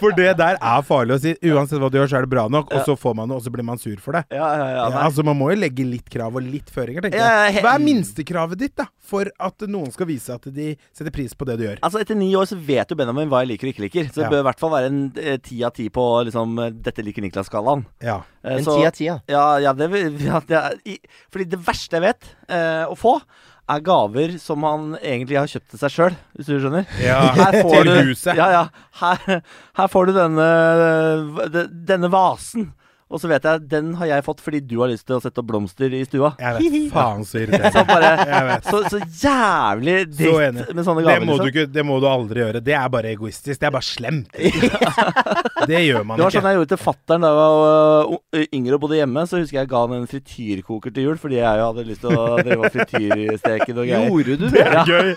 D: For det der er farlig å si. Uansett hva du gjør, så er det bra nok. Og så får man det, og så blir man sur for det.
B: Ja, ja, ja, nei.
D: altså Man må jo legge litt krav og litt føringer, tenker
B: Ja, ja,
D: jeg.
B: he-
D: Hva er minstekravet ditt da for at noen skal vise at de setter pris på det du gjør?
B: Altså Etter ni år så vet jo Benjamin hva jeg liker og ikke liker. Så det
D: Ja.
B: bør i hvert fall være en eh, ti av ti på liksom, eh, 'dette liker Niklas-skalaen'.
D: Ja.
B: Eh,
A: En
B: så-
A: ti av ti, ja.
B: Ja, ja, det, vil- [LAUGHS] ja det er, i, Fordi det verste jeg vet eh, å få, er gaver som han egentlig har kjøpt til seg sjøl, hvis du skjønner. Her får
D: Til
B: du-
D: huset.
B: Ja, ja. Her, her får du denne, de- denne vasen. Og så vet jeg den har jeg fått fordi du har lyst til å sette opp blomster i stua.
D: [LAUGHS] Jeg vet faen så irriterende.
B: [LAUGHS] Så bare
D: Jeg vet.
B: Så, så jævlig
D: Så enig.
B: dritt med sånne
D: Det
B: gaver.
D: må, du
B: liksom.
D: ikke, det må du aldri gjøre. Det er bare egoistisk. Det er
B: [LAUGHS]
D: bare slemt. Det gjør man
B: Det var sånn
D: ikke.
B: jeg gjorde til fattern da jeg var øh, o- yngre og bodde hjemme. Så husker jeg jeg ga han en frityrkoker til jul, fordi jeg jo hadde lyst til å drive og frityrsteke noe
A: [LAUGHS]
B: greier.
A: Gjorde
B: [LAUGHS]
A: du det?
B: Ja.
D: Gøy!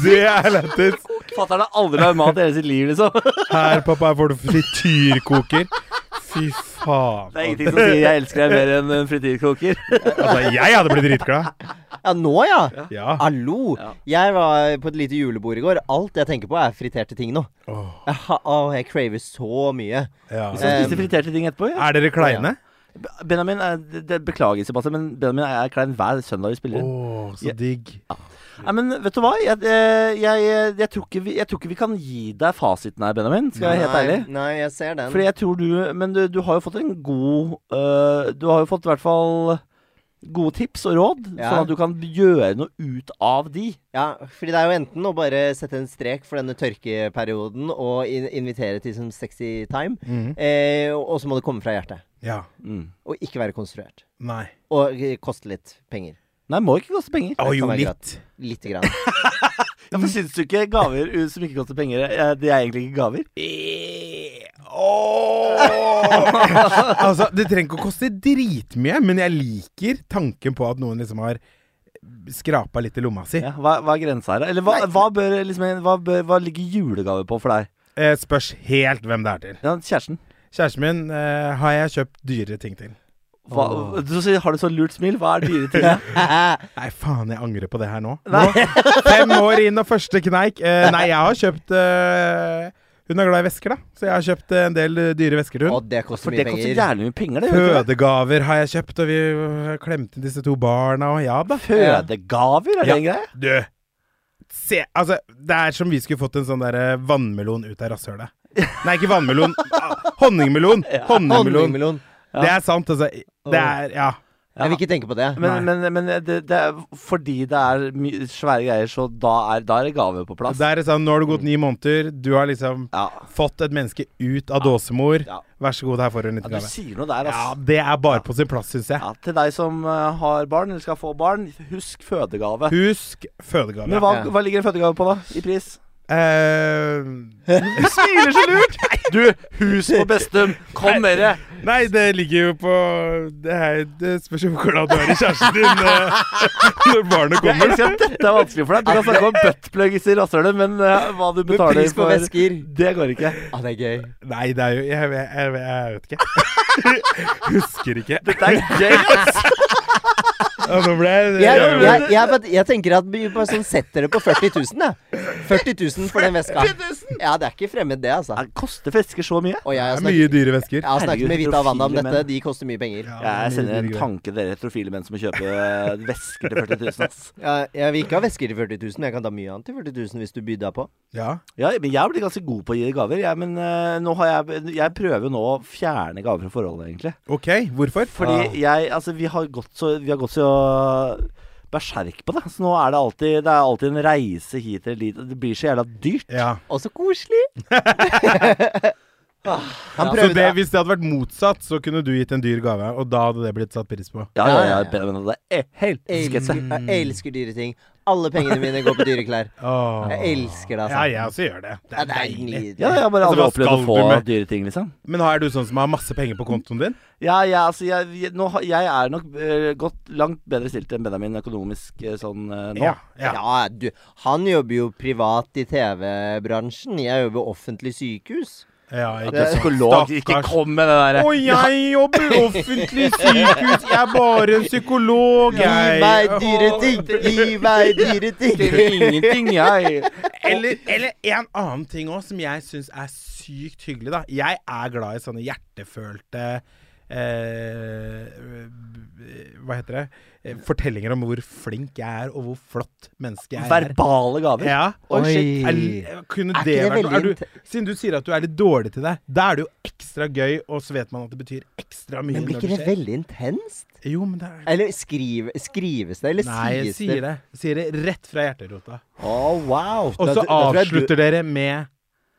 D: Det er lættis!
B: Fattern har aldri lagd mat i hele sitt liv, liksom.
D: Her, pappa, her får du frityrkoker. Fy faen.
B: Det er ingenting som sier 'jeg elsker deg' mer enn en frityrkoker.
D: Altså, jeg hadde blitt dritglad.
A: Ja, nå, ja.
D: Ja.
A: Hallo!
B: Ja.
A: Jeg var på et lite julebord i går. Alt jeg tenker på, er friterte ting nå.
D: Åh,
A: Jeg, ha, å, jeg craver så mye.
D: ja.
B: Så spiste friterte ting etterpå. Ja.
D: Er dere kleine?
B: Benjamin er, det, det, Beklager, Sebastian, men Benjamin er klein hver søndag vi spiller.
D: Å,
B: inn.
D: så digg.
B: Nei, men vet du hva? Jeg, eh, jeg, jeg, tror ikke vi, jeg tror ikke vi kan gi deg fasiten her, Benjamin. Skal jeg være helt
A: nei,
B: ærlig.
A: Nei, jeg ser den.
B: Fordi jeg tror du Men du, du har jo fått en god øh, Du har jo fått i hvert fall gode tips og råd,
A: Ja.
B: sånn at du kan gjøre noe ut av de.
A: Ja, fordi det er jo enten å bare sette en strek for denne tørkeperioden og in invitere til som sexy time, eh, og så må det komme fra hjertet.
D: Ja.
A: Og ikke være konstruert.
D: Nei.
A: Og eh, koste litt penger.
B: Nei, må ikke koste penger.
D: Å,
A: Det
D: jo,
A: kan være
D: litt.
A: Lite grann.
B: Ja, for Syns du ikke gaver uh, som ikke koster penger, eh, det er egentlig ikke gaver?
D: [LAUGHS] altså, det trenger ikke å koste dritmye, men jeg liker tanken på at noen liksom har skrapa litt i lomma si.
B: Ja, hva, hva er grensa her? da? Eller hva, hva, bør, liksom, en- hva, bør, hva ligger julegave på for deg?
D: Eh, spørs helt hvem det er til.
B: Ja, kjæresten.
D: Kjæresten min eh, har jeg kjøpt dyrere ting til.
B: Hva, du, sier- har du så lurt smil? Hva er dyre ting?
D: Nei, faen, jeg angrer på det her nå.
B: Nei.
D: Fem år inn og første kneik. Eh, nei, jeg har kjøpt eh, Hun er glad i vesker, da, så jeg har kjøpt eh, en del eh, dyre vesker til hun.
A: Og det koster
B: For
A: mye
B: det koster
A: penger.
B: jævlig mye penger, det. gjør det ikke det?
D: Fødegaver har jeg kjøpt, og vi øh, klemte disse to barna, og ja da.
B: Fødegaver, er det
D: Ja.
B: en greie?
D: Du! Se, altså, det er som vi skulle fått en sånn derre vannmelon ut av rasshølet. Nei, ikke
B: [LAUGHS]
D: vannmelon. ah, Honningmelon! Honningmelon.
A: Honningmelon.
D: Det er sant, altså. Det er Ja.
B: Ja.
A: Jeg vil ikke tenke på det.
B: Men, men, men det, det er fordi det er my svære greier, så da er, da er det gave på plass.
D: Det er sånn, nå har det gått ni måneder, du har liksom
B: Ja.
D: fått et menneske ut av dåsemor.
B: Ja.
D: Vær så god, her får du
B: ja,
D: en liten
B: du
D: gave.
B: sier noe der,
D: Ja,
B: altså.
D: det er bare på sin plass, syns jeg.
B: Ja, til deg som eh, har barn, eller skal få barn, husk fødegave.
D: Husk fødegave.
B: Men hva,
A: Ja.
B: hva ligger en fødegave på, da? I pris?
D: Eh,
B: Du smiler så [LAUGHS] lurt! Du, hus på Bestum, kom dere!
D: Nei, det ligger jo på Det, er, det spørs jo hvor glad du er i kjæresten din eh, [LAUGHS] når barnet
B: Jeg
D: kommer.
B: elsker at dette er vanskelig for deg. Du kan snakke om buttplugs i rasshølet, men eh, hva du
A: Med
B: betaler
A: pris på
B: for
A: vesker.
B: Det går ikke.
A: Ja, det er gøy.
D: Nei, det er jo Jeg, jeg, jeg, jeg vet ikke. Husker ikke.
B: [LAUGHS] Det er gøy, ass!
D: Ja, nå ble jeg,
A: Jeg, jeg, jeg, bare- jeg tenker at vi bare sånn setter det på 40 000, jeg. 40 000 for den veska. Ja, det er ikke fremmed, det, altså.
B: Ja, Koster vesker så mye?
A: Og jeg
D: Det
A: har
D: er
A: snakket,
D: mye dyre vesker.
A: jeg har snakket med
B: Herregud,
A: Vita og Wanda om
B: profile
A: dette.
B: menn.
A: De koster mye penger.
B: Jeg sender en
D: mye greier.
B: tanke til dere heterofile menn som må kjøpe eh, vesker til 40 000, ass.
A: Jeg, jeg vil ikke ha vesker til 40 000. Jeg kan ta mye annet til 40 000 hvis du byr deg på.
D: Ja.
B: Ja, men jeg blir ganske god på å gi gaver. Jeg, men eh, nå har jeg, jeg prøver nå å fjerne gaver fra forholdet, egentlig.
D: OK, hvorfor? Ah.
B: Fordi jeg Altså, vi har gått så, vi har gått så berserk på det. Så nå er det alltid Det er alltid en reise hit eller dit. og Det blir så jævla dyrt.
D: Ja.
A: Å, så koselig!
D: [LAUGHS]
A: Ah, Han
D: Så
A: prøvde
D: det, hvis det hadde vært motsatt, så kunne du gitt en dyr gave, og da hadde det blitt satt pris på.
B: Ja, ja,
A: Ja,
B: ja.
A: ja, ja.
B: Benjamin hadde eh, helt sketsje.
A: elsker, Jeg elsker dyre ting. Alle pengene mine går på dyre klær.
D: Mm. Åh.
A: Jeg elsker det, altså.
D: Ja, jeg også gjør det. Det
A: Ja,
D: er
A: det er
D: deilig.
A: nydelig.
B: Ja, jeg har bare
D: Altså,
B: aldri
D: hva
B: opplevd å
D: skal
B: få
D: du med?
B: dyre ting, liksom.
D: Men er du sånn som har masse penger på kontoen din?
B: Ja, jeg, altså, jeg, jeg, nå, har- jeg er nok eh, godt langt bedre stilt enn Benjamin økonomisk eh, sånn eh, nå.
D: ja.
A: Ja, du, han jobber jo privat i TV-bransjen. Jeg jobber i offentlig sykehus.
D: Ja,
B: Det
D: ikke
B: er
D: sant.
B: psykolog, ikke
D: Stakkars.
B: kom med det derre
D: Og jeg jobber i offentlig sykehus, jeg er bare en psykolog, jeg.
A: Gi meg dyre ting! Gi meg dyre ting!
B: Ingenting, jeg.
D: Eller, eller en annen ting òg som jeg syns er sykt hyggelig, da. Jeg er glad i sånne hjertefølte eh, Hva heter det? Eh, Fortellinger om hvor flink jeg er, og hvor flott menneske jeg er.
B: Verbale gaver.
D: Ja.
A: Oi.
D: shit. Er, eh, kunne
A: Er
D: det
A: ikke det
D: vært noe? er
A: veldig
D: du, Siden du sier at du er litt dårlig til det, da er det jo ekstra gøy, og så vet man at det betyr ekstra mye.
A: Men blir
D: når
A: ikke det
D: skjer.
A: veldig intenst?
D: Jo, men det er
A: Eller skrive, skrives det, eller
D: Nei, jeg
A: sies
D: sier det. Jeg sier det rett fra hjerterota.
B: Å, wow.
D: Og
A: Da- da
D: så
A: tror jeg du-
D: avslutter dere med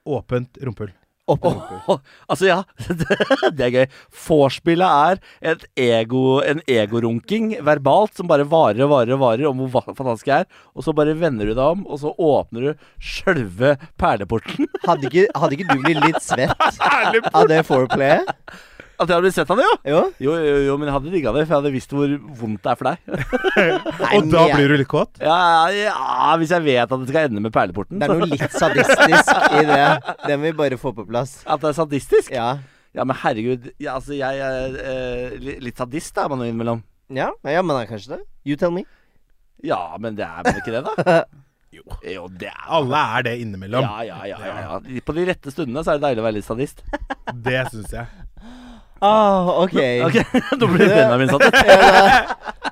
D: åpent rumpehull.
A: Opp,
B: Åh, altså, ja. [LAUGHS] det er gøy. Vorspielet er et ego, en egorunking verbalt som bare varer og varer og varer om hvor va- fantastisk jeg er. Og så bare vender du deg om, og så åpner du sjølve perleporten. [LAUGHS]
A: Hadde ikke, hadde ikke du blitt litt
D: [LAUGHS]
A: svett av det foreplayet?
B: At jeg hadde blitt sett av det, jo!
A: Jo.
B: Jo, jo, jo, men jeg hadde digga det, for jeg hadde visst hvor vondt det er for deg. [LAUGHS]
D: Og da blir du litt kåt?
B: Ja, ja, hvis jeg vet at det skal ende med perleporten.
A: Det er noe
B: så-
A: litt sadistisk i det. Det må vi bare få på plass.
B: At det er sadistisk? Ja,
A: Ja.
B: men herregud. Ja, altså, jeg er eh, li- litt sadist, da, er man jo innimellom.
A: Ja, ja men det er kanskje det. You tell me.
B: Ja, men det er man ikke det, da?
D: Jo.
B: Jo, det er
D: Alle er det innimellom.
B: Ja, ja, ja, ja, ja. På de rette stundene så er det deilig å være litt sadist.
D: [LAUGHS]
B: [LAUGHS]
D: Det syns jeg.
A: Ah, ok.
B: Ok, Da blir Benjamin satt.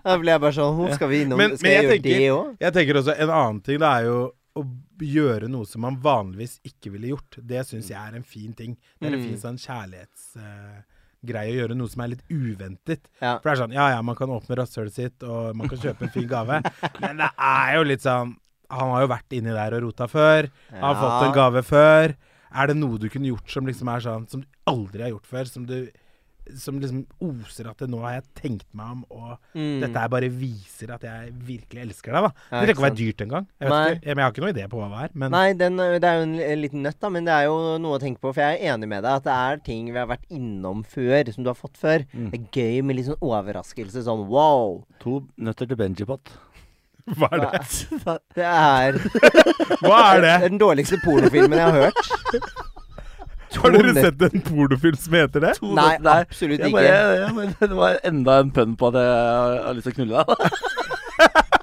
A: Da ble jeg bare sånn Hvor skal vi innom?
D: Men,
A: skal
D: men jeg,
A: jeg, gjøre det
D: tenker,
A: òg?
D: jeg tenker også en annen ting, det er jo å gjøre noe som man vanligvis ikke ville gjort. Det syns jeg er en fin ting. Det er en fin
A: Mm.
D: sånn kjærlighetsgreie å gjøre noe som er litt uventet.
A: Ja.
D: For det er sånn ja ja, man kan åpne rasshølet sitt, og man kan kjøpe en fin
A: [LAUGHS]
D: gave, men det er jo litt sånn Han har jo vært inni der og rota før. Han har fått en gave før. Er det noe du kunne gjort som liksom er sånn Som du aldri har gjort før? Som du som liksom oser at det nå har jeg tenkt meg om, og dette her bare viser at jeg virkelig elsker deg, da.
A: Mm. Ja,
D: det trenger
A: ikke
D: ikke å være dyrt engang. Jeg,
A: Nei.
D: vet ikke- jeg, men jeg har ikke noen idé på hva det er, men
A: Nei, den, ø, det er jo en, l- en liten nøtt, da, men det er jo noe å tenke på. For jeg er enig med deg at det er ting vi har vært innom før, som du har fått før.
D: Mm.
A: Det er gøy med litt sånn overraskelse, sånn
D: [LAUGHS]
A: wow.
B: To nøtter til Benjipot.
D: [LAUGHS] hva er det?
A: Det er
D: Hva
A: det er
D: er det?
A: [LAUGHS] den dårligste pornofilmen jeg har hørt.
D: [LAUGHS] Har dere
A: nøtter-
D: sett en pornofilm som heter det?
A: Nei, absolutt
B: jeg
A: ikke.
B: bare, jeg bare, det var enda en pønn på at jeg har lyst til å knulle deg.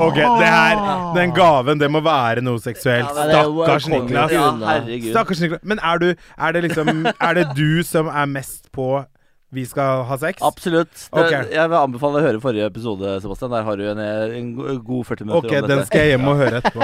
D: Ok, det her, den gaven, det må være noe seksuelt.
A: Ja, det er-
D: Stakkars
A: kommer jo
D: Niklas.
A: til
B: Ja,
A: unna.
B: herregud.
D: Stakkars Niklas. Men er, du, er det liksom Er det du som er mest på vi skal ha sex?
B: Absolutt. Det,
D: Ok.
B: Jeg vil anbefale å høre forrige episode, Sebastian. Der har du en, en go- god 40 minutter
D: Ok,
B: om
D: den
B: dette.
D: skal jeg hjem og
A: [LAUGHS]
D: høre etterpå.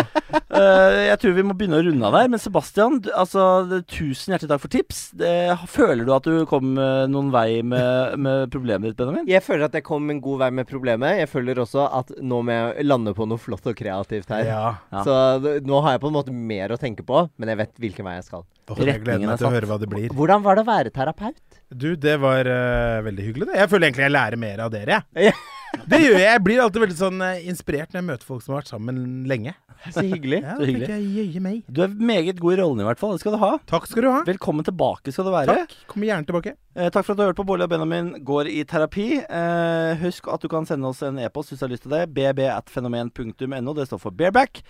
B: Eh, jeg tror vi må begynne å runde av der. Men Sebastian, du- altså, det- tusen hjertelig takk for tips. Det, føler du at du kom eh, noen vei med, med problemet ditt, Benjamin?
A: Jeg føler at jeg kom en god vei med problemet. Jeg føler også at nå må jeg lande på noe flott og kreativt her.
D: Ja.
B: Ja.
A: Så d- nå har jeg på en måte mer å tenke på, men jeg vet hvilken vei jeg skal.
D: Åh, Jeg
B: Retningen
D: gleder
B: er
D: meg til å
B: satt.
D: høre hva det blir.
A: Hvordan var det å være terapeut?
D: Du, det var eh, veldig hyggelig. Det. Jeg føler egentlig jeg lærer mer av dere.
A: Ja.
D: jeg. Det gjør jeg. Jeg blir alltid veldig sånn eh, inspirert når jeg møter folk som har vært sammen lenge.
A: Så hyggelig.
D: Ja,
B: [LAUGHS] Så
D: det
B: hyggelig.
D: tenker jeg jøye meg.
B: Du er meget god i rollen, i hvert fall. Det skal du ha.
D: Takk skal du ha.
B: Velkommen tilbake skal du være.
D: Takk. Kommer gjerne tilbake.
B: Eh, takk for at du har hørt på Bårli og Benjamin går i terapi. Eh, husk at du kan sende oss en e-post hvis du har lyst til det. bb.fenomen.no. Det står for bareback.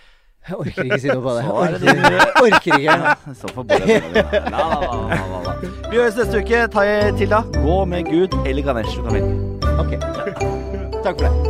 A: Jeg orker ikke si noe på det.
B: Så er det
A: Orker ikke. Orker ikke.
B: Det står for Bårli og Benjamin. La, la, la, la, la. Vi høres neste uke. Ta til da. Gå med Gud eller Ganesh. Du kan velge.
A: Ok. Takk for det.